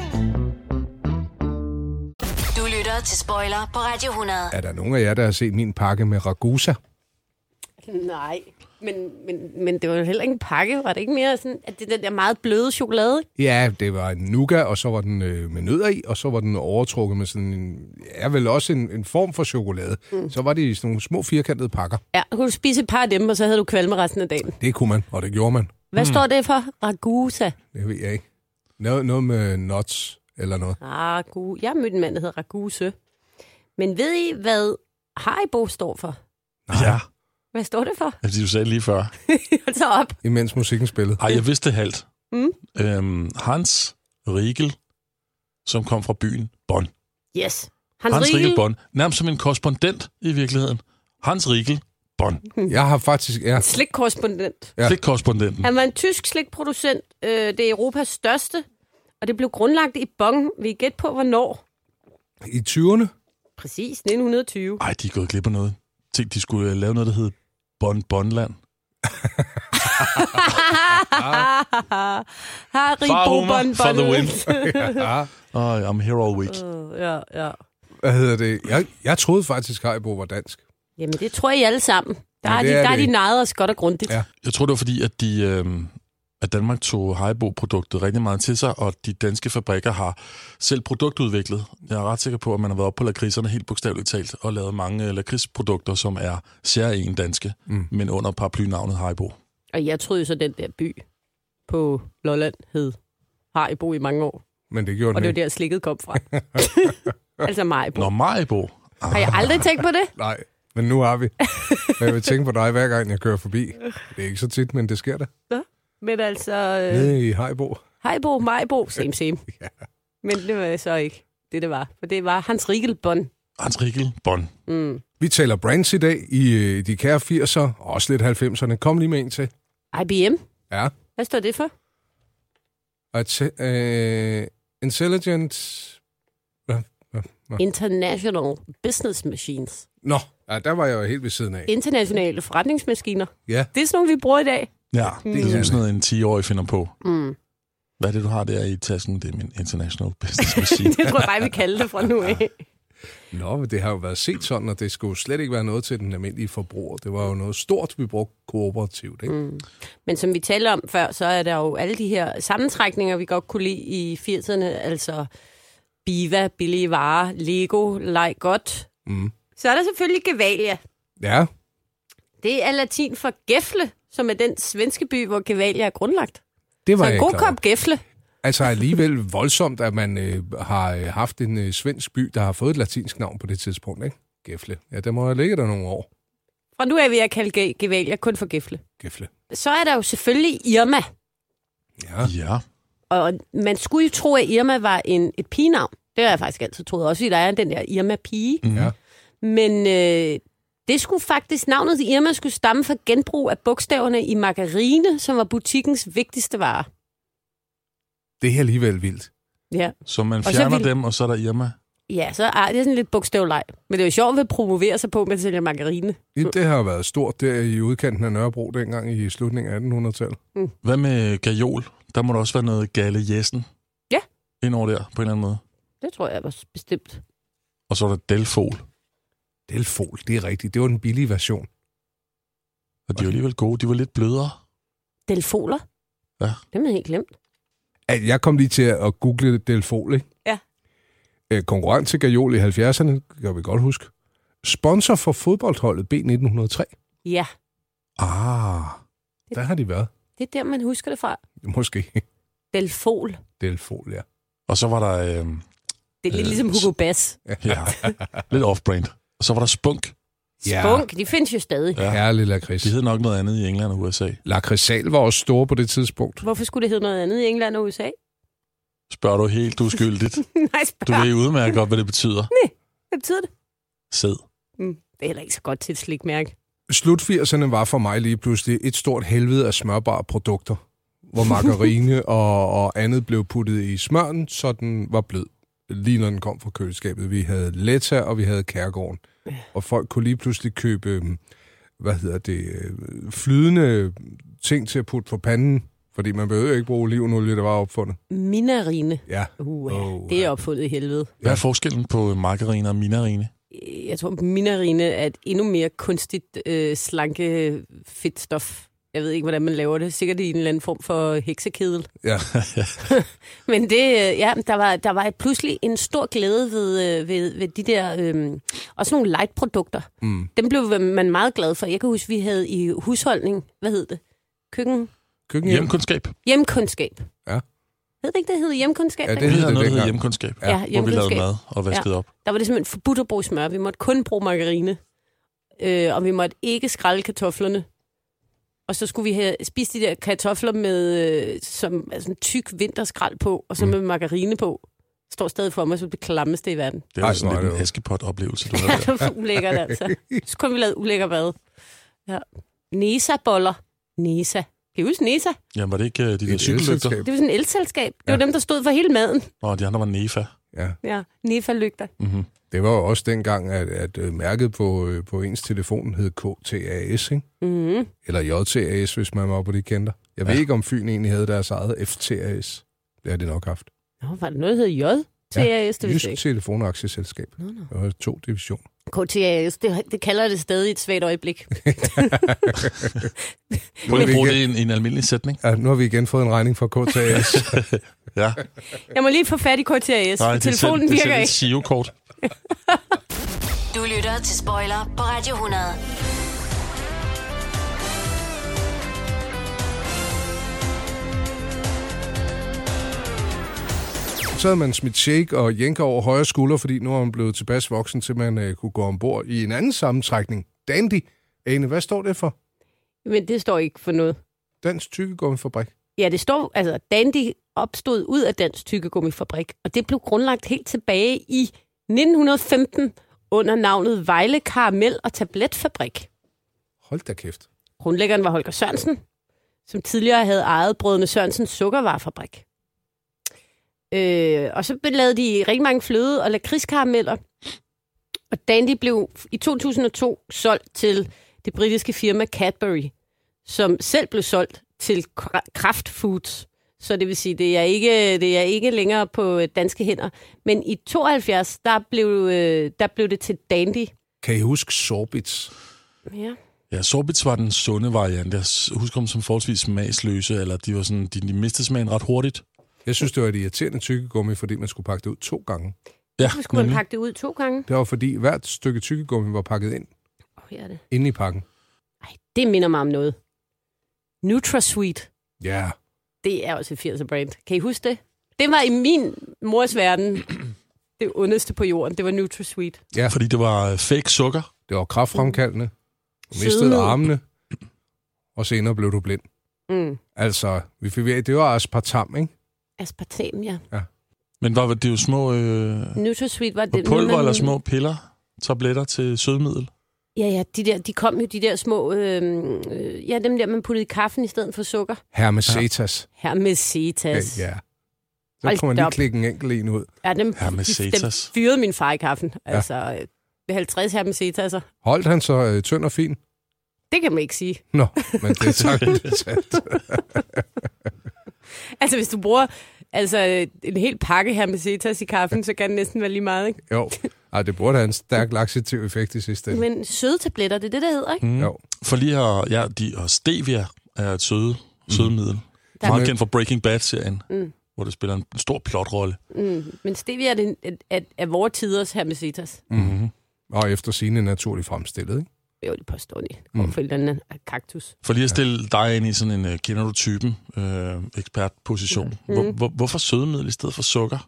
Du lytter til Spoiler på Radio 100.
Er der nogen af jer, der har set min pakke med Ragusa?
Nej, men, men, men det var jo heller ikke en pakke. Var det ikke mere sådan, at det er den der meget bløde chokolade?
Ja, det var en nougat, og så var den øh, med nødder i, og så var den overtrukket med sådan en... Ja, vel også en, en form for chokolade. Mm. Så var det i sådan nogle små firkantede pakker.
Ja, kunne du spise et par af dem, og så havde du kvalme resten af dagen.
Det kunne man, og det gjorde man.
Hvad står det for? Ragusa.
Det ved jeg ikke. Noget, noget med nuts eller noget.
Ragu. Jeg mødte en mand, der hedder Raguse. Men ved I, hvad Haribo står for?
Ja,
Hvad står det for?
fordi du sagde lige før.
Hold så op.
Imens musikken spillede.
Ej, jeg vidste det halvt.
Mm.
Øhm, Hans Riegel, som kom fra byen Bonn.
Yes.
Hans, Hans Riegel Bonn. Nærmest som en korrespondent i virkeligheden. Hans Riegel Bonn.
Mm.
Jeg har faktisk... Ja.
Slikkorrespondent.
Ja. Slikkorrespondenten.
Han var en tysk slikproducent. Øh, det er Europas største. Og det blev grundlagt i Bonn. Vi gæt på, hvornår.
I 20'erne?
Præcis, 1920.
Ej, de er gået glip af noget. Tænk, de skulle øh, lave noget, der hed Bonn Bonnland.
Haribo
Homer,
Bonbon.
for the win.
ja.
Oh, I'm here all week.
Øh, ja, ja.
Hvad hedder det? Jeg, jeg troede faktisk, Haribo var dansk.
Jamen, det tror I alle sammen. Der
Men
har de,
det er
der har
det
de
ikke.
nejet os godt og grundigt.
Ja.
Jeg tror, det var fordi, at, de, øh, at Danmark tog Haribo-produktet rigtig meget til sig, og de danske fabrikker har selv produktudviklet. Jeg er ret sikker på, at man har været oppe på lakridserne helt bogstaveligt talt, og lavet mange øh, lakridsprodukter, som er særlig danske, mm. men under paraplynavnet Haribo.
Og jeg troede jo så, den der by på Lolland hed Haribo i mange år.
Men det gjorde
Og
den
det var
ikke.
der, slikket kom fra. altså Maribo.
Nå, Maribo. Ah,
Har jeg aldrig tænkt på det?
Nej, men nu har vi. Men jeg vil tænke på dig, hver gang jeg kører forbi. Det er ikke så tit, men det sker da.
Men altså...
Nede i Haribo.
Hejbo, Majbo, same same.
ja.
Men det var så ikke det, det var. For det var Hans Riegelbånd.
Hans Riegelbånd.
Mm.
Vi taler brands i dag i øh, de kære 80'er, og også lidt 90'erne. Kom lige med en til.
IBM.
Ja.
Hvad står det for?
At, øh, intelligent... Hva? Hva? Hva?
International Business Machines.
Nå, ja, der var jeg jo helt ved siden af.
Internationale forretningsmaskiner.
Ja.
Det er sådan nogle, vi bruger i dag.
Ja,
Mm.
det er ligesom sådan noget, en 10-årig finder på.
Mm.
Hvad er det, du har der i tasken? Det er min international business machine.
det tror jeg bare, vi kalder det fra nu af.
Nå, men det har jo været set sådan, og det skulle slet ikke være noget til den almindelige forbruger. Det var jo noget stort, vi brugte kooperativt, ikke?
Mm. Men som vi talte om før, så er der jo alle de her sammentrækninger, vi godt kunne lide i 80'erne. Altså Biva, Billige Varer, Lego, Leg Godt.
Mm.
Så er der selvfølgelig Gevalia.
Ja,
Det er latin for Gefle, som er den svenske by, hvor Gevalia er grundlagt.
det var jeg
så en
ikke
god
klar over.
kop Gefle.
Altså alligevel voldsomt, at man øh, har øh, haft en øh, svensk by, der har fået et latinsk navn på det tidspunkt, ikke? Gefle. Ja, der må jeg ligge der nogle år.
Fra nu af vil jeg kalde Ge- Gevalia kun for Gefle.
Gefle.
Så er der jo selvfølgelig Irma.
Ja.
ja.
Og man skulle jo tro, at Irma var en, et pigenavn. Det har jeg faktisk altid troet. Også fordi der er den der Irma-pige.
Mhm. Ja.
Men øh, det skulle faktisk, navnet til Irma skulle stamme fra genbrug af bogstaverne i margarine, som var butikkens vigtigste vare.
Det er alligevel vildt.
Ja,
Så man
Og så
fjerner så
vil-
dem, og så er der Irma.
ja så er det er sådan lidt bogstavleg. Men det er jo sjovt at promovere sig på, at man sælger margarine.
Det, det har været stort der i udkanten af Nørrebro dengang i slutningen af 1800-tallet.
Hvad med gajol? Der må der også være noget galle jessen.
Ja.
Ind over der, på en eller anden måde.
Det tror jeg var bestemt.
Og så er der delfol.
Delfol, det er rigtigt. Det var den billige version.
Og de var alligevel gode. De var lidt blødere.
Delfoler.
Ja.
Dem har jeg helt glemt.
At jeg kom lige til at google Delfol, ikke?
Ja.
Øh, konkurrent til Gajol i 70'erne, kan vi godt huske. Sponsor for fodboldholdet B1903.
Ja,
Ah, der har de været.
det er der, man husker det fra.
Måske.
Delfol.
Delfol, ja.
Og så var der... Øh,
Det er lidt
Øh,
ligesom Hugo Bass.
ja, lidt off-brand. Og så var der spunk.
Ja.
Spunk, de findes jo stadig.
Ja.
Herlig lakrids.
Det hed nok noget andet i England og USA.
Lakridsal var også store på det tidspunkt.
Hvorfor skulle det hedde noget andet i England og USA?
Spørger du helt uskyldigt.
Nej,
Du
spørg.
ved udmærket godt, hvad det betyder.
Hvad betyder det?
Sæd.
Mm, det er heller ikke så godt til et slikmærke.
Slut 80'erne var for mig lige pludselig et stort helvede af smørbare produkter, hvor margarine og, og andet blev puttet i smøren, så den var blød. Lige når den kom fra køleskabet. Vi havde Letta, og vi havde Kærgården. Og folk kunne lige pludselig købe, øhm, hvad hedder det, øh, flydende ting til at putte på panden, fordi man behøvede ikke bruge olivenolie, der var opfundet.
Minarine.
Ja.
Uh, det er opfundet i helvede.
Hvad er forskellen på margarine og minarine?
Jeg tror, minarine er et endnu mere kunstigt øh, slanke fedtstof. Jeg ved ikke, hvordan man laver det. Sikkert i en eller anden form for heksekedel.
Ja.
Men det, øh, ja, der var, der var pludselig en stor glæde ved, øh, ved, ved de der, øh, også nogle light-produkter.
Mm.
Dem blev man meget glad for. Jeg kan huske, vi havde i husholdning, hvad hed det? Køkken?
Køkkenhjem.
Hjemkundskab.
Hjemkundskab.
Ja.
Hed det ikke, det hed hjemkundskab?
Ja, det
Det
hed
hedder noget, der hedder
dengang.
hjemkundskab.
Ja,
hvor vi lavede
hjemkundskab.
mad og vaskede op.
Der var det simpelthen forbudt at bruge smør. Vi måtte kun bruge margarine. Øh, og vi måtte ikke skrælle kartoflerne. Og så skulle vi have spist de der kartofler med øh, som, altså en tyk vinterskrald på, og så med margarine på. Står stadig for mig som det klammeste i verden.
Det
Ej,
var
hvor
sådan
er
lidt
det
en
jo.
askepot-oplevelse, du
Ja,
havde
det
der.
var for ulækkert, altså. Så kunne vi lave ulækker mad. Ja. Nesa-boller. Nesa. Kan I huske Nesa?
Jamen, var det ikke øh, de der
et
cykellygter?
elselskab.
Det var sådan et elselskab. Det var dem, der stod for hele maden.
Og de andre var nefa.
Ja.
Ja, Nefa-lygter.
Mm-hmm.
Det var jo også dengang, at, at øh, mærket på, øh, på ens telefon hed KTAS, ikke?
Mm-hmm.
Eller JTAS, hvis man var på de kender. Jeg ved
Ja.
ikke, om Fyn egentlig havde deres eget FTAS. Det har de nok haft.
Nå, var der noget, der hed J? TAS, det vidste
Jysk
jeg ikke.
Telefon og Aktieselskab.
Nå, nå.
Der var to divisioner.
KTAS, det, det kalder det stadig et svagt øjeblik.
Prøv
Men
at
vi kan-
bruge det i en, i en almindelig sætning.
Ja, nu har vi igen fået en regning fra KTAS.
Ja.
Jeg må lige få fat i KTAS, for
det er selv-
telefonen
det er selv
virker
et
ikke.
SIO-kort.
Du lytter til Spoiler på Radio 100.
Så havde man smidt shake og jænker over højre skulder, fordi nu er man blevet tilpas voksen, til man øh, kunne gå ombord i en anden sammentrækning. Dandy. Ane, hvad står det for?
Men det står ikke for noget.
Dansk Tykkegummifabrik.
Ja, det står, altså Dandy opstod ud af Dansk Tykkegummifabrik, og det blev grundlagt helt tilbage i 1915 under navnet Vejle Karamel- og Tabletfabrik.
Hold da kæft.
Grundlæggeren var Holger Sørensen, som tidligere havde ejet brødene Sørensens sukkervarefabrik. Øh, og så lavede de rigtig mange fløde- og lakridskarameller. Og Dandy blev i 2002 solgt til det britiske firma Cadbury, som selv blev solgt til Kra- Kraft Foods. Så det vil sige, det er ikke, det er ikke længere på øh, danske hænder. Men i 72, der blev, øh, der blev det til Dandy.
Kan I huske sorbits?
Ja.
Ja, sorbits var den sunde variant. Jeg s- husker dem som forholdsvis smagsløse, eller de, var sådan, de, de mistede smagen ret hurtigt.
Jeg synes, det var et irriterende tykkegummi, fordi man skulle pakke det ud to gange.
Ja,
Så skulle man pakke det ud to gange.
Det var fordi hvert stykke tykkegummi var pakket ind,
Åh, her er det.
inde i pakken.
det minder mig om noget. NutraSweet.
Ja.
Det er også et 80'er brand. Kan I huske det? Det var i min mors verden det ondeste på jorden. Det var NutraSweet.
Ja.
Fordi det var øh, fake sukker.
Det var kraftfremkaldende.
Mm.
Du mistede
Sødme.
armene, og senere blev du blind.
Mm.
Altså, vi fik, det var aspartam, ikke?
Aspartam, ja.
Men var det er jo små øh,
NutraSweet var det.
pulver eller små piller, tabletter til sødmiddel?
Ja, ja, de, der, de kom jo de der små... Øh, øh, ja, dem der, man puttede i kaffen i stedet for sukker.
Hermesetas.
Her med cetas.
Ja. ja. Så
Hold
kunne man
da
lige
op.
klikke en enkelt en ud.
Ja, dem, de, dem
Hermesetas.
fyrede min far i kaffen. Ja. Altså, øh, ved 50 her med cetasser.
Holdt han så øh, tynd og fin?
Det kan man ikke sige.
Nå, men det er sagt. det er sandt.
Altså, hvis du bruger altså, en hel pakke her med cetas i kaffen, så kan det næsten være lige meget, ikke?
jo. Ej, det burde have en stærk laxativ effekt i sidste ende.
Men søde tabletter, det er det, der hedder, ikke?
Mm. For lige her, ja, de, og stevia er et søde, sødemiddel.
Mhm. Der-
Meget kendt fra Breaking Bad-serien,
Mm.
hvor det spiller en stor plotrolle.
Mm. Men stevia er, det, er, er, er vores tiders her med cetas.
Mm-hmm. Og efter sine naturligt fremstillet, ikke?
Jo, det påstår de. Det kommer
Mm.
fra en eller anden kaktus.
For lige at stille dig ind i sådan en, øh, kender du typen, øh, ekspertposition.
Mm.
Hvor, hvor, hvorfor sødemiddel i stedet for sukker?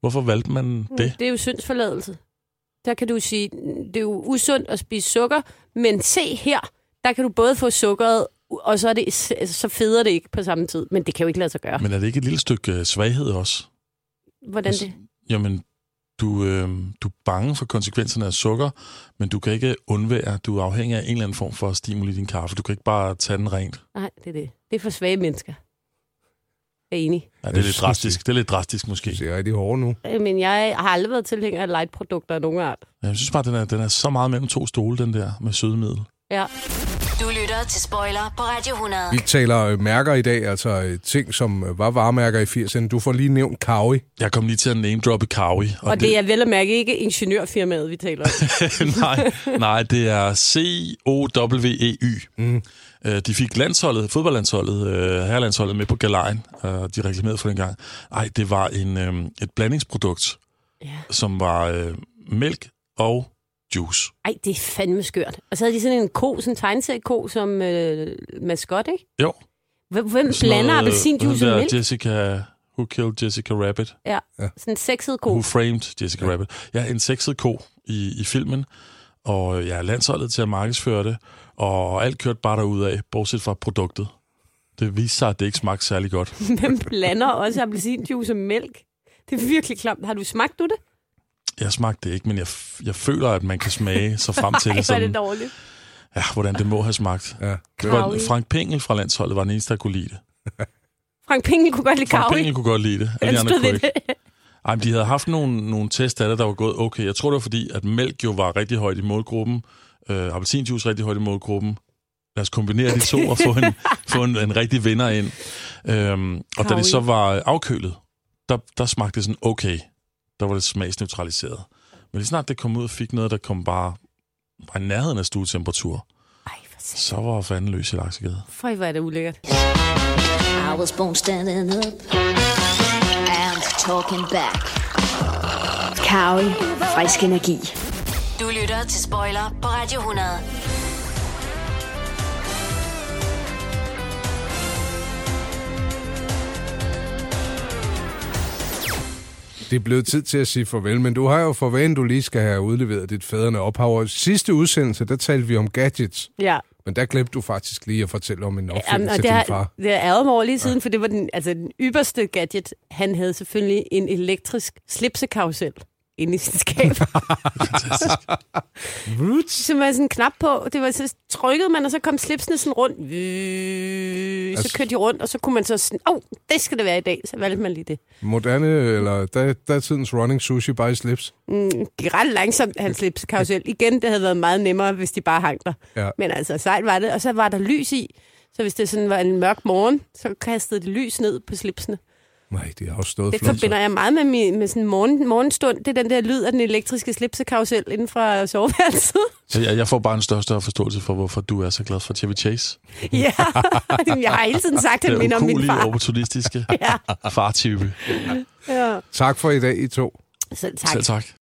Hvorfor valgte
Mm.
man det?
det er jo syndsforladelse. Der kan du sige, mm, det er jo usundt at spise sukker, men se her, der kan du både få sukkeret, og så, er det, altså, så feder det ikke på samme tid. Men det kan jo ikke lade sig gøre.
Men er det ikke et lille stykke øh, svaghed også?
Hvordan det?
Jamen, du, øh, du er bange for konsekvenserne af sukker, men du kan ikke undvære, du er afhængig af en eller anden form for stimuli i din kaffe. Du kan ikke bare tage den rent.
Nej, det er det. Det er for svage mennesker. Jeg er enig.
Ja, det er lidt drastisk. Det er lidt drastisk måske.
Det er rigtig hårdt nu.
Øh, Men jeg har aldrig været tilhænger af light-produkter af nogen art.
Jeg synes bare, den er, den er så meget mellem to stole, den der med sødemiddel.
Ja.
Du lytter til Spoiler på Radio 100.
Vi taler øh, mærker i dag, altså øh, ting, som øh, var varemærker i 80'erne. Du får lige nævnt Kawi.
Jeg kom lige til at name droppe Kawi.
Og, og det, det er vel at mærke ikke ingeniørfirmaet, vi taler om.
nej, nej, det er C-O-W-E-Y.
Mm.
E Øh, de fik landsholdet, fodboldlandsholdet, øh, herrelandsholdet med på galejen, og de reklamerede for den gang. Ej, det var en, øh, et blandingsprodukt,
Ja.
som var øh, mælk og juice.
Ej, det er fandme skørt. Og så havde de sådan en ko, sådan en tegneserieko som øh, maskot, ikke?
Jo.
Hvem, hvem
Sådan
blander
noget, øh,
appelsinjuice
hun
og
der
mælk?
Jessica, Who Killed Jessica Rabbit?
Ja, sådan en sexet ko.
Who Framed Jessica ja. Rabbit? Ja, en sexet ko i, i filmen, og ja, landsholdet til at markedsføre det, og alt kørte bare derudad, bortset fra produktet. Det viste sig, at det ikke smagte særlig godt.
Hvem blander også appelsinjuice og mælk? Det er virkelig klamt. Har du smagt du det?
Jeg smagte det ikke, men jeg, f- jeg føler, at man kan smage sig frem til
Ej,
det.
hvor er
Sådan,
det dårligt.
ja, hvordan det må have smagt.
Ja.
Det var,
Kravl.
Frank Pengel fra landsholdet var den eneste, der kunne lide det.
Frank Pengel kunne godt lide
Frank
kavl.
Pengel kunne godt lide det. Alle
Han
de andre
stod
kunne
ved
ikke. Ej, men de havde haft nogle, nogle test af det, der var gået okay. Jeg tror, det var fordi, at mælk jo var rigtig højt i målgruppen. Øh, appelsinjuice rigtig højt i målgruppen. Lad os kombinere de to og få en, få en, en rigtig vinder ind. Øhm, og da
Kaui.
det så var afkølet, der, der smagte det sådan okay. Der var det smagsneutraliseret. Men lige snart det kom ud og fik noget, der kom bare var i nærheden af stuetemperatur, så var fanden løs i laksegade.
Føj, hvor er det ulækkert.
I was born standing up and talking back. Kaui, frisk energi.
Du lytter til Spoiler på Radio 100.
Det er blevet tid til at sige farvel, men du har jo for vane, du lige skal have udleveret dit fædrene ophav. Og i sidste udsendelse, der talte vi om gadgets.
Ja.
Men Men der glemte du faktisk lige at fortælle om en opfindelse
Jamen,
Jamen,
og
til
det,
din
har,
far.
det er ærget mig over lige siden, for det var den, altså, den ypperste gadget. Han havde selvfølgelig en elektrisk slipsekarusel inde i sit skab. som var sådan en knap på. Det var så trykkede man, og så kom slipsene sådan rundt. Vøh, Så
Altså-
kørte de rundt, og så kunne man så sådan, åh, oh, det skal det være i dag. Så valgte man lige det.
Moderne, eller da, datidens running sushi by slips.
Mm, gik ret langsomt, hans slipskarusel. Igen, det havde været meget nemmere, hvis de bare hang der.
Ja.
Men altså, sejt var det. Og så var der lys i. Så hvis det sådan var en mørk morgen, så kastede det lys ned på slipsene.
Nej, det har jo stået
Det
flot.
forbinder jeg meget med, min, med sådan en morgen, morgenstund. Det er den der lyd af den elektriske slipsekarusel inden fra soveværelset.
Så jeg, jeg får bare en større, og større forståelse for, hvorfor du er så glad for Chevy Chase.
ja, jeg har hele tiden sagt, at han minder om min far.
opportunistiske
Ja.
fartype.
Ja.
Tak for i dag, I to.
Selv tak.
Selv tak.